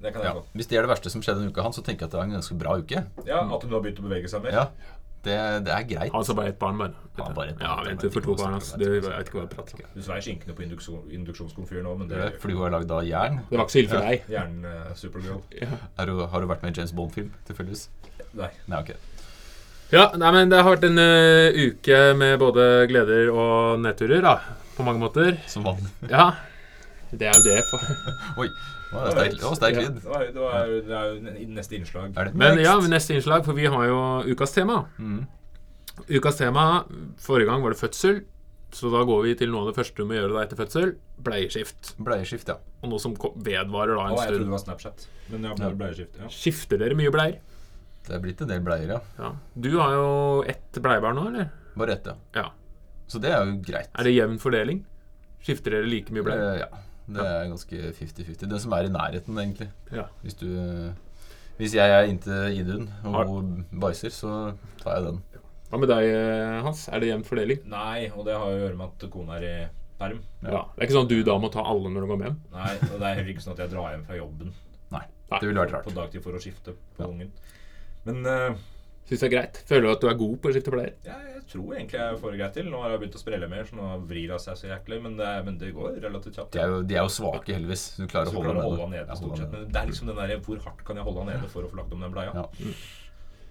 Speaker 4: Det kan jeg
Speaker 5: ja,
Speaker 4: få.
Speaker 5: hvis det er det verste som skjedde denne uka hans, så tenker jeg at det er en ganske bra uke.
Speaker 4: Ja, At hun har begynt å bevege seg mer.
Speaker 5: Ja, Det, det er greit.
Speaker 3: Altså bare ett barn, bare.
Speaker 5: Ja, bare ett barn.
Speaker 3: ja, vent du får to barn, altså. Det, jeg vet ikke hva jeg prater om.
Speaker 4: Du svei skinkene på induksjon, induksjonskomfyren òg, men
Speaker 5: Det
Speaker 4: det
Speaker 5: er Fordi hun er lagd av jern.
Speaker 3: Det var ikke så ille for deg.
Speaker 4: Hjernen eh, Supergirl.
Speaker 5: Er hun, har hun vært med i en James Bond-film, tilfeldigvis?
Speaker 4: Nei.
Speaker 5: Nei, ok.
Speaker 3: Ja, nei, men det har vært en ø, uke med både gleder og nedturer, da. På mange måter.
Speaker 5: Som vann.
Speaker 3: Ja. Det er jo det. For.
Speaker 5: Oi, det var sterk, det var sterk
Speaker 3: Ja.
Speaker 5: lyd.
Speaker 4: Det, var, det, var, det er jo n- neste innslag.
Speaker 5: Er det
Speaker 3: Men
Speaker 5: next?
Speaker 3: ja, neste innslag, for vi har jo ukas tema. Ukas tema Forrige gang var det fødsel. Så da går vi til noe av det første du må gjøre da etter fødsel bleieskift.
Speaker 5: Bleieskift, ja.
Speaker 3: Og noe som ko- vedvarer da
Speaker 4: Å,
Speaker 3: en
Speaker 4: jeg trodde det
Speaker 3: stund.
Speaker 4: var Snapchat. Men ja, bare bleieskift. Ja.
Speaker 3: Skifter dere mye bleier?
Speaker 5: Det er blitt en del bleier, ja.
Speaker 3: Ja. Du har jo ett bleiebarn nå, eller?
Speaker 5: Bare ett, ja.
Speaker 3: Ja.
Speaker 5: Så det er jo greit.
Speaker 3: Er det jevn fordeling? Skifter dere like mye bleier?
Speaker 5: Eh, Ja. Det er ganske 50-50. Den som er i nærheten, egentlig.
Speaker 3: Ja.
Speaker 5: Hvis du Hvis jeg er inntil Idun
Speaker 3: Har-
Speaker 5: og hun bæsjer, så tar jeg den.
Speaker 3: Hva med deg, eh, Hans? Er det jevn fordeling?
Speaker 4: Nei, og det har jo å gjøre med at kona er i perm.
Speaker 5: Ja.
Speaker 3: Ja. Det er ikke sånn at du da må ta alle når du kommer hjem?
Speaker 4: Nei, og det er heller ikke sånn at jeg drar hjem fra jobben
Speaker 5: Nei.
Speaker 3: Nei.
Speaker 5: Det ville vært
Speaker 4: på
Speaker 5: rart.
Speaker 4: dagtid for å skifte på
Speaker 5: Ja.
Speaker 4: ungen. Men eh,
Speaker 3: Syns det er greit? Føler du at du er god på å skifte bleier?
Speaker 4: ja, jeg tror egentlig jeg får det greit til. Nå har jeg begynt å sprelle mer, så nå vrir hun seg så jæklig. Men det, men det går relativt kjapt.
Speaker 5: De er jo, de er jo svake, heldigvis. Du klarer
Speaker 4: Så
Speaker 5: å
Speaker 4: klarer
Speaker 5: holde
Speaker 4: jeg å
Speaker 5: den
Speaker 4: holde han nede
Speaker 5: Ja, holde
Speaker 4: stort
Speaker 5: den
Speaker 4: sett.
Speaker 5: nede.
Speaker 4: Men det er liksom den der, hvor hardt kan jeg holde han nede for å få lagt om den bleia?
Speaker 5: Ja.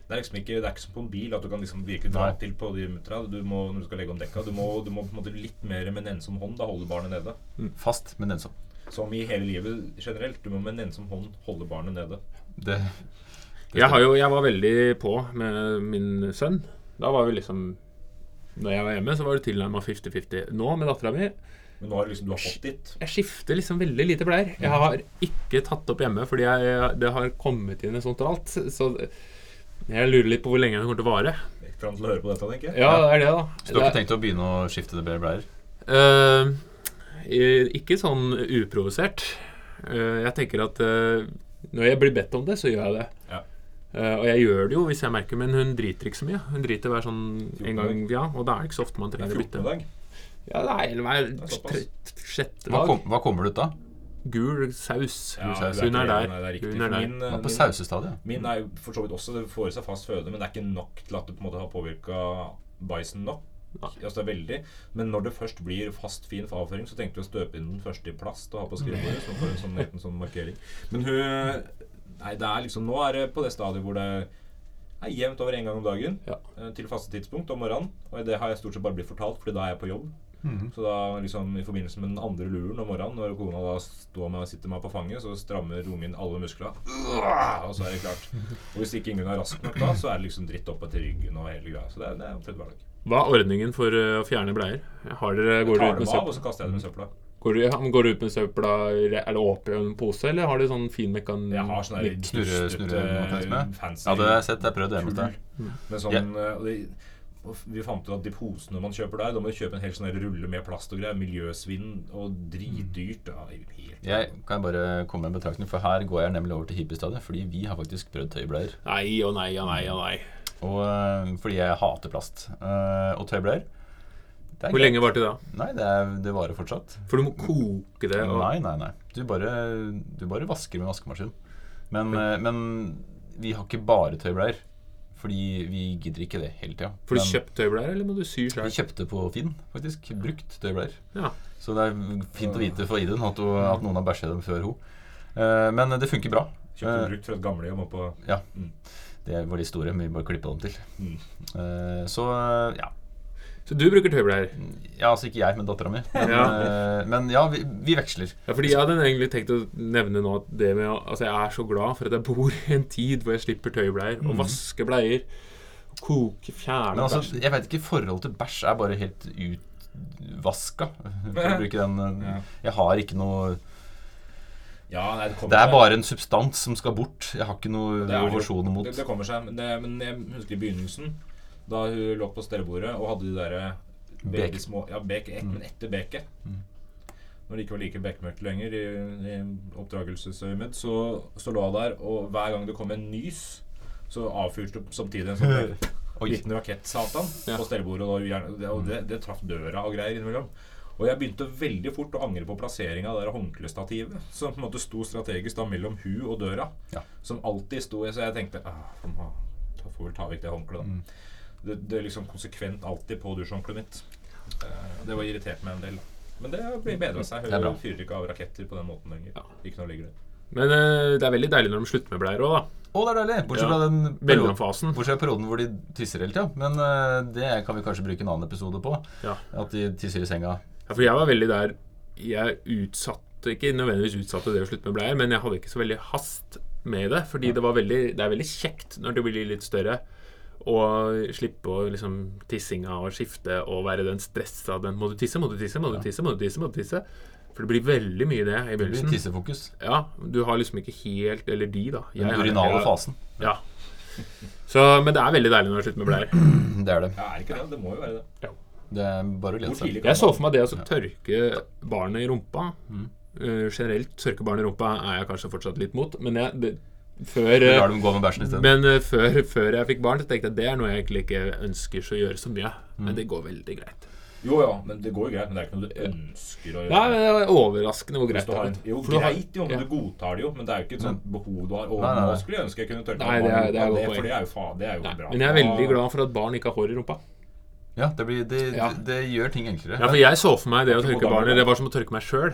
Speaker 4: Det er liksom ikke, det er ikke som på en bil, at du kan liksom virkelig dra
Speaker 5: Nei.
Speaker 4: til på de muttera. Du må, når du skal legge om dekka, du må, du må på en måte litt mer med en ensom hånd. Da holder barnet nede.
Speaker 5: Fast, men ensom.
Speaker 4: Som i hele livet generelt. Du må med en ensom hånd holde barnet nede.
Speaker 5: Det
Speaker 3: Jeg, har jo, jeg var veldig på med min sønn. Da var vi liksom Når jeg var hjemme, så var det tilnærma 50-50. Nå, med dattera mi,
Speaker 4: Men nå har du liksom, du har fått ditt.
Speaker 3: jeg skifter liksom veldig lite bleier. Jeg har ikke tatt opp hjemme fordi jeg, det har kommet inn et sånt og alt. Så jeg lurer litt på hvor lenge det kommer til å vare.
Speaker 4: Fram til å høre på dette, tenker jeg.
Speaker 3: Ja, det er det, da.
Speaker 5: Så du har ikke tenkt å begynne å skifte det bedre bleier?
Speaker 3: Eh, eh, ikke sånn uprovosert. Eh, jeg tenker at eh, når jeg blir bedt om det, så gjør jeg det.
Speaker 4: Ja.
Speaker 3: Eh, og jeg gjør det jo hvis jeg merker, men hun driter ikke så mye. Hun driter hver sånn en gang, ja, og da er det ikke så ofte man
Speaker 4: Det er
Speaker 3: trenger å
Speaker 4: 14.
Speaker 3: bytte.
Speaker 4: dag.
Speaker 3: Ja, det er, eller hver
Speaker 4: Det er såpass.
Speaker 3: tre- sjette
Speaker 5: Hva,
Speaker 3: dag.
Speaker 5: kom, hva kommer det ut da?
Speaker 3: Gul saus.
Speaker 4: Ja,
Speaker 5: Hun er
Speaker 4: du ikke
Speaker 3: der.
Speaker 4: enig, nei, det er riktig.
Speaker 3: Hun er der.
Speaker 4: Min, eh,
Speaker 5: Den er På
Speaker 4: min-
Speaker 5: sausestadiet.
Speaker 4: Min er jo for så vidt også Det får i seg fast føde, men det er ikke nok til at det på en måte har påvirka bæsjen nok. Altså det er veldig Men når det først blir fast, fin avføring, så tenkte vi å støpe inn den første i plast og ha på skrivebordet. Så får en sånn, liten sånn markering. Men hun Nei, det er liksom Nå er det på det stadiet hvor det er jevnt over én gang om dagen
Speaker 3: Ja.
Speaker 4: eh, til faste tidspunkt om morgenen. Og det har jeg stort sett bare blitt fortalt, Fordi da er jeg på jobb. Så da liksom i forbindelse med den andre luren om morgenen, når kona da står meg og sitter meg på fanget, så strammer ungen alle muskler. Og så er det klart. Og hvis ikke ingen er rask nok da, så er det liksom dritt oppe til ryggen og hele greia. Så det er, det er omtrent hver dag.
Speaker 3: Hva er ordningen for eh, å fjerne bleier? Har dere, går,
Speaker 4: Tar
Speaker 3: dere ut
Speaker 4: dem
Speaker 3: med
Speaker 4: av, og
Speaker 3: søpla,
Speaker 4: så kaster jeg dem i søpla.
Speaker 3: går, du, ja, men går du ut med søpla re- Er det åpen i en pose, eller har du sånn fin mekan...
Speaker 4: Jeg har sånn der
Speaker 5: Snurre,
Speaker 4: dustete, eh,
Speaker 5: snurre mekanisme.
Speaker 4: fancy
Speaker 5: Ja, det har jeg sett. Jeg har prøvd det hjemme hos
Speaker 4: kull.
Speaker 5: deg.
Speaker 4: Men sånn eh, og det- og vi fant ut at de posene man kjøper der, da må du kjøpe en hel sånn der rulle med plast og greier. Miljøsvinn og dritdyrt. Ja, helt
Speaker 5: Jeg kan bare komme med en betraktning, for her går jeg nemlig over til hippiestadiet. Fordi vi har faktisk prøvd tøybleier.
Speaker 3: Nei og nei og nei og nei.
Speaker 5: Og øh, fordi jeg hater plast. Øh, og tøybleier det er
Speaker 3: Hvor
Speaker 5: greit.
Speaker 3: lenge varte det? da?
Speaker 5: Nei, det, er, det varer fortsatt.
Speaker 3: For du må koke det. Og,
Speaker 5: Nei, nei, nei. Du bare, du bare vasker med vaskemaskin. Men, øh, men vi har ikke bare tøybleier. Fordi vi gidder ikke det hele tida.
Speaker 3: får du kjøpt tøybleier, eller må du sy
Speaker 5: Vi
Speaker 3: sjøl?
Speaker 5: kjøpte på Finn, faktisk. Brukt tøybleier.
Speaker 3: Ja.
Speaker 5: Så det er fint å vite for Idun at, hun- at noen har bæsja dem før hun. Eh, Men det funker bra.
Speaker 4: Kjøpte
Speaker 5: Eh.
Speaker 4: brukt fra et gamlehjem oppå
Speaker 5: Ja.
Speaker 4: Mm.
Speaker 5: Det var de store, men vi bare klippa dem til.
Speaker 4: Mm.
Speaker 5: Eh, Så ja.
Speaker 3: Så du bruker tøybleier?
Speaker 5: ja. Altså ikke jeg, men dattera mi. Men
Speaker 3: Ja.
Speaker 5: eh, men ja, vi, vi veksler.
Speaker 3: Ja, fordi jeg hadde egentlig tenkt å nevne nå at det med å- Altså, jeg er så glad for at jeg bor i en tid hvor jeg slipper tøybleier, og vasker bleier, og koke,
Speaker 5: Mm. Men
Speaker 3: fjerne
Speaker 5: altså,
Speaker 3: bæsj.
Speaker 5: jeg veit ikke. Forholdet til bæsj er bare helt utvaska, for å bruke den. eh, Jeg har ikke noe
Speaker 4: Ja, nei, det kommer
Speaker 5: Det er
Speaker 4: seg.
Speaker 5: bare en substans som skal bort. Jeg har ikke noe
Speaker 4: Det er det jo.
Speaker 5: aversjoner mot
Speaker 4: Det, det kommer seg. Men, det, men jeg husker i begynnelsen, da hun lå på stellebordet og hadde de derre
Speaker 5: Bek. Mm.
Speaker 4: veldig små Ja, bek, et, men etter beket. Når det ikke var like bekmørkt lenger i, i oppdragelsesøyemed, så, så lå hun der, og hver gang det kom en nys, så avfyrte hun samtidig en sånn
Speaker 5: Oi.
Speaker 4: liten rakett, satan,
Speaker 3: Ja.
Speaker 4: på stellebordet. Og, da gjerne- det, og det, det traff døra og greier innimellom. Og jeg begynte veldig fort å angre på plasseringa av det der håndklestativet. Som på en måte sto strategisk da mellom hu og døra.
Speaker 5: Ja.
Speaker 4: Som alltid sto Så jeg tenkte «Ah, for ma- Da får vel ta vekk det håndkleet,
Speaker 3: Mm.
Speaker 4: da. Det, det er liksom konsekvent alltid på dusjhåndkleet mitt. Eh, Det var irritert meg en del. da. Men det har
Speaker 3: Mm.
Speaker 4: bedra seg.
Speaker 5: Det er bra.
Speaker 4: Hun fyrer ikke av raketter på den måten lenger.
Speaker 3: Ja.
Speaker 4: Ikke noe ligger det.
Speaker 3: Men eh, det er veldig deilig når de slutter med bleier òg, da.
Speaker 5: Å, det er deilig!
Speaker 3: Ja.
Speaker 5: Bortsett fra den perioden-
Speaker 3: Mellomfasen.
Speaker 5: Bortsett fra perioden hvor de tisser hele tida. Men eh, det kan vi kanskje bruke en annen episode på.
Speaker 3: Ja.
Speaker 5: At de tisser i senga.
Speaker 3: Ja, for jeg var veldig der Jeg utsatte Ikke nødvendigvis utsatte det å slutte med bleier, men jeg hadde ikke så veldig hast med det. Fordi det, var veldig, det er veldig kjekt når det blir litt større Og slippe å liksom tissinga og skifte og være den stressa den Må du tisse, må du tisse, må du tisse, må du tisse? må du tisse For det blir veldig mye det i
Speaker 5: Det blir
Speaker 3: begynnelsen.
Speaker 5: tissefokus.
Speaker 3: Ja, Du har liksom ikke helt Eller de, da.
Speaker 5: Den
Speaker 3: Jeg har-
Speaker 5: urinale
Speaker 3: jeg-
Speaker 5: fasen.
Speaker 3: Ja. Så, men det er veldig deilig når det er slutt med bleier.
Speaker 5: Det er det.
Speaker 4: Ja, er det ikke det? Det må jo være det.
Speaker 5: Det er bare å glede
Speaker 4: Hvor
Speaker 5: seg.
Speaker 4: tidlig
Speaker 3: Jeg
Speaker 4: kan
Speaker 3: så
Speaker 4: man
Speaker 3: for meg det å så tørke barnet i rumpa. Eh, generelt tørke barnet i rumpa er jeg kanskje fortsatt litt mot, men jeg det, før eh,
Speaker 5: Lar dem gå med bæsjen isteden.
Speaker 3: men eh, før, før jeg fikk barn, så tenkte jeg det er noe jeg egentlig ikke ønsker så å gjøre så mye. Men det går veldig greit.
Speaker 4: Jo ja, men det går jo greit. Men det er ikke noe du ønsker
Speaker 3: Ja,
Speaker 4: å gjøre.
Speaker 3: men det er overraskende hvor
Speaker 4: Hvis
Speaker 3: greit
Speaker 4: du
Speaker 3: det
Speaker 4: har
Speaker 3: er.
Speaker 4: en, jo,
Speaker 3: For du har-
Speaker 4: greit jo, men
Speaker 3: ja.
Speaker 4: du godtar det jo. Men det er jo ikke et sånt behov du har. Og
Speaker 5: Nei, nei, nei.
Speaker 4: nå skulle jeg ønske jeg kunne tørke
Speaker 3: Nei,
Speaker 4: meg
Speaker 3: det er- det er
Speaker 4: på
Speaker 3: godt
Speaker 4: det,
Speaker 3: poeng.
Speaker 4: for det er jo faen, det er jo
Speaker 3: Nei,
Speaker 4: bra.
Speaker 3: men jeg er veldig glad for at barn ikke har hår i rumpa.
Speaker 5: Ja, det, blir, det,
Speaker 3: Ja.
Speaker 5: det, det gjør ting enklere.
Speaker 3: Ja, for jeg så for meg det å
Speaker 4: Ikke mot
Speaker 3: tørke
Speaker 4: alle.
Speaker 3: barnet, det var som å tørke meg sjøl.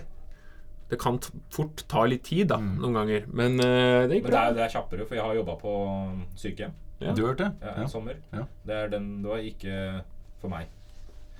Speaker 3: Det kan t fort ta litt tid, da, noen ganger. Mm. Men eh, det gikk
Speaker 4: Men det
Speaker 3: bra.
Speaker 4: er, det er kjappere, for jeg har jobba på mm, sykehjem
Speaker 3: Ja.
Speaker 5: Du har hørt det?
Speaker 4: ja, en
Speaker 5: Ja.
Speaker 4: sommer.
Speaker 5: Ja.
Speaker 4: Det, er den, det var ikke for meg.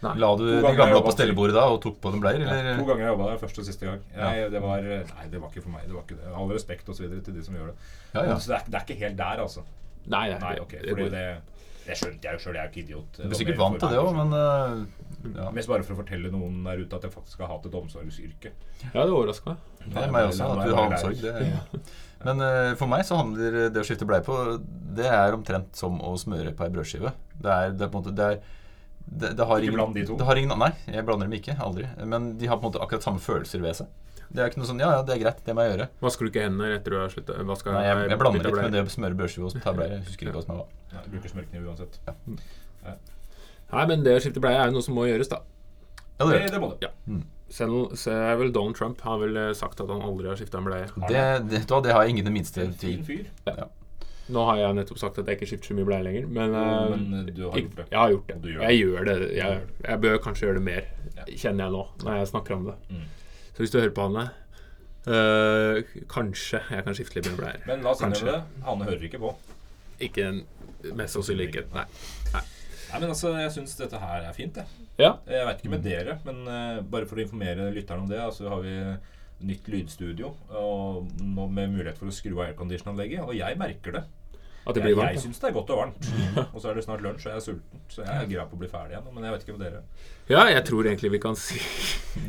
Speaker 5: La du
Speaker 4: To
Speaker 5: de
Speaker 4: ganger
Speaker 5: gamle opp
Speaker 4: jobba
Speaker 5: på stellebordet da og tok på dem bleier,
Speaker 4: To
Speaker 5: eller?
Speaker 4: ganger jeg jobba der, første og siste gang. Jeg, det var, nei, det var ikke for meg. Det var ikke det. All respekt og så videre til de som gjør det.
Speaker 5: Ja, ja.
Speaker 4: Så det er, det er ikke helt der, altså.
Speaker 3: Nei, nei,
Speaker 4: Nei,
Speaker 3: det-
Speaker 4: ok.
Speaker 3: det
Speaker 4: Fordi
Speaker 3: går.
Speaker 4: det, det skjønte jeg jo sjøl, jeg er jo ikke idiot.
Speaker 5: Du er sikkert vant til det òg, men eh, ja.
Speaker 4: Mest bare for å fortelle noen der ute at jeg faktisk har hatt et omsorgsyrke.
Speaker 3: Ja, det overrasker meg.
Speaker 5: Det er meg også, at du har omsorg. Det. er- Men eh, for meg så handler det å skifte bleie på Det er omtrent som å smøre på ei brødskive. Det er, det er på en måte det, er, det, det har
Speaker 4: Ikke
Speaker 5: ingen,
Speaker 4: bland de to.
Speaker 5: Det har ingen, nei, jeg blander dem ikke. Aldri. Men de har på en måte akkurat samme følelser ved seg. Det er ikke noe sånn Ja, ja, det er greit, det må jeg gjøre.
Speaker 3: Vasker du ikke hendene etter du har slutta? Vaska-
Speaker 5: Nei, jeg, jeg blander
Speaker 3: bytta
Speaker 5: litt
Speaker 3: bleie?
Speaker 5: med det å smøre brødskive og ta bleie. Jeg husker ikke hva som var.
Speaker 4: Nei, jeg bruker smørkniv uansett.
Speaker 3: Nei, men det å skifte bleie er jo noe som må gjøres, da.
Speaker 5: Ja,
Speaker 4: Det,
Speaker 5: det,
Speaker 4: det må du.
Speaker 3: Ja. Selv, så er vel Donald Trump har vel eh, sagt at han aldri har skifta en bleie.
Speaker 5: det, det, det, vet du hva, det har jeg ingen det minste
Speaker 4: Fin
Speaker 5: tvil
Speaker 4: fyr.
Speaker 3: Nå har jeg nettopp sagt at jeg ikke skifter så mye bleie lenger, men, eh,
Speaker 4: Men du har
Speaker 3: jeg,
Speaker 4: gjort det. Mm.
Speaker 3: jeg har gjort det.
Speaker 4: Og du gjør
Speaker 3: Jeg gjør det. Jeg, jeg bør kanskje gjøre det mer, kjenner jeg nå, når jeg snakker om det.
Speaker 4: Mm.
Speaker 3: Så hvis du hører på Hanne eh, kanskje jeg kan skifte litt mer bleier.
Speaker 4: Men la oss
Speaker 3: Kanskje.
Speaker 4: innrømme det. Hanne hører ikke på.
Speaker 3: Ikke en, mest sannsynlig ikke. Nei.
Speaker 4: Nei, men altså, Jeg syns dette her er fint, jeg.
Speaker 3: Ja.
Speaker 4: Jeg veit ikke med dere, men eh, bare for å informere lytterne om det, så har vi nytt lydstudio og nå med mulighet for å skru av aircondition-anlegget. Og jeg merker det.
Speaker 3: At det
Speaker 4: Jeg,
Speaker 3: blir
Speaker 4: jeg
Speaker 3: varmt.
Speaker 4: syns det er godt og varmt. Og så er det snart lunsj, og jeg er sulten. Så jeg er gira på å bli ferdig igjen. Men jeg vet ikke med dere.
Speaker 3: Ja, jeg tror egentlig vi kan si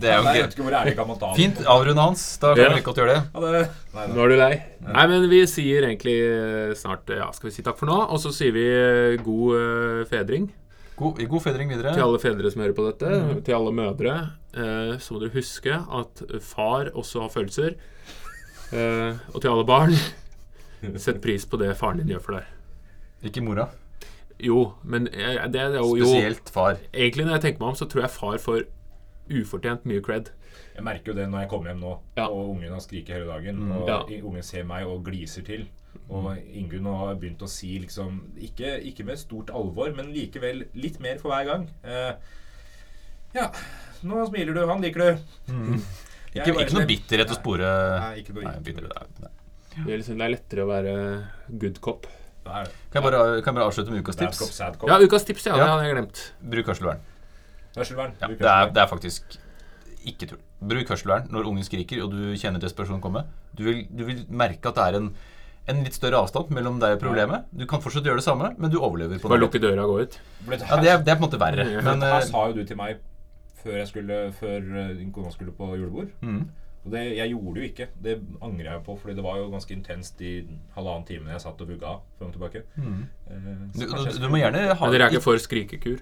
Speaker 5: Det er jo
Speaker 4: Nei, jeg
Speaker 5: greit.
Speaker 4: vet ikke hvor ærlig kan man ta det.
Speaker 5: Fint avrunde hans. Da kan
Speaker 3: Ja.
Speaker 5: vi like godt gjøre det.
Speaker 4: Ja, det, nei,
Speaker 3: Nå
Speaker 4: nei.
Speaker 3: er du lei. Nei, men vi sier egentlig eh, snart eh, Ja, skal vi si takk for nå? Og så sier vi eh, god eh, fedring
Speaker 5: God, god fedring videre.
Speaker 3: til alle fedre som hører på dette.
Speaker 5: Mm.
Speaker 3: Til alle mødre. Eh, så må dere huske at far også har følelser. Eh, og til alle barn Sett pris på det faren din gjør for deg.
Speaker 5: Ikke mora.
Speaker 3: Jo, men eh, det er jo jo,
Speaker 5: Spesielt far.
Speaker 3: Egentlig, når jeg tenker meg om, så tror jeg far får ufortjent mye cred.
Speaker 4: Jeg merker jo det når jeg kommer hjem nå,
Speaker 3: Ja.
Speaker 4: og ungen har skriket hele dagen.
Speaker 5: Mm.
Speaker 4: Og
Speaker 3: Ja.
Speaker 4: i- ungen ser meg og gliser til. Og Ingunn har begynt å si liksom ikke, ikke med stort alvor, men likevel litt mer for hver gang. Eh, ja, nå smiler du. Han liker du. Jeg
Speaker 5: Ikke,
Speaker 4: bare
Speaker 5: ikke noe
Speaker 4: snill.
Speaker 5: bitterhet å spore.
Speaker 4: Nei, ikke noe
Speaker 5: Nei,
Speaker 4: bitterhet.
Speaker 5: bitterhet er- nei.
Speaker 3: Det er, liksom, det er lettere å være good cop.
Speaker 4: Nei, det
Speaker 5: Kan jeg bare, kan jeg bare avslutte med ukas
Speaker 4: er Bad cop,
Speaker 5: tips?
Speaker 4: sad cop.
Speaker 3: Ja, ukas tips, ja.
Speaker 5: Ja.
Speaker 3: Det hadde jeg glemt.
Speaker 5: Bruk hørselvern.
Speaker 4: Hørselvern.
Speaker 5: Ja,
Speaker 4: Bruk
Speaker 5: det, er,
Speaker 4: hørselvern.
Speaker 5: det er faktisk ikke tull. Bruk hørselvern når ungen skriker og du kjenner desperasjonen komme. Du vil, du vil merke at det er en, en litt større avstand mellom deg og problemet. Du kan fortsatt gjøre det samme, men du overlever på
Speaker 3: Bare
Speaker 5: det.
Speaker 3: lukke døra og gå ut.
Speaker 4: For dette
Speaker 5: Ja,
Speaker 4: her-
Speaker 5: det, er, det er på en måte verre.
Speaker 3: Ja.
Speaker 5: Men
Speaker 4: Her
Speaker 5: eh,
Speaker 4: sa jo du til meg før jeg skulle Før eh, din kone skulle på julebord.
Speaker 5: Mm.
Speaker 4: Og det, jeg gjorde jo ikke. Det angrer jeg på, Fordi det var jo ganske intenst de halvannen timen jeg satt og vugga frem og tilbake. Eh, så
Speaker 5: Mm. du,
Speaker 4: kanskje jeg
Speaker 5: du,
Speaker 4: skulle-
Speaker 5: du må gjerne ha
Speaker 3: Men dere er ikke for skrikekur?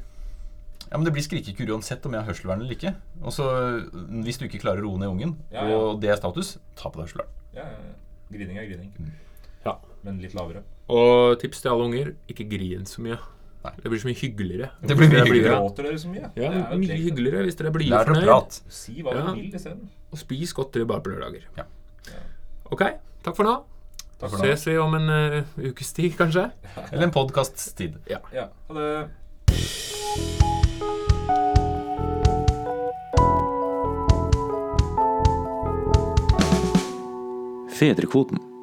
Speaker 5: Ja, men Det blir skrikekur uansett om jeg har hørselvern eller ikke. Og så Hvis du ikke klarer å roe ned ungen,
Speaker 4: Ja, ja.
Speaker 5: og det er status, ta på deg hørselvern.
Speaker 4: ja, ja, ja. Grining er grining.
Speaker 5: Mm.
Speaker 3: Ja.
Speaker 4: Men litt lavere.
Speaker 3: Og tips til alle unger ikke grin så mye.
Speaker 5: Nei.
Speaker 3: Det blir så mye hyggeligere.
Speaker 5: Det blir mye
Speaker 3: Dere blir
Speaker 5: hyggeligere.
Speaker 3: glad.
Speaker 4: Gråter dere så mye?
Speaker 3: Ja,
Speaker 4: Det er jo
Speaker 3: mye
Speaker 4: et lek.
Speaker 3: hyggeligere hvis dere blir
Speaker 5: Lær deg å
Speaker 3: fornøyd.
Speaker 5: prate.
Speaker 4: Si hva
Speaker 3: Ja.
Speaker 4: du vil isteden.
Speaker 3: Og spis godteri bare på lørdager.
Speaker 5: Ja.
Speaker 3: Ok, takk for nå.
Speaker 4: Takk for nå.
Speaker 3: Ses vi om en eh, ukes tid, kanskje.
Speaker 5: Eller en podkasts tid.
Speaker 4: Ja, ha det.
Speaker 2: Fedrekvoten.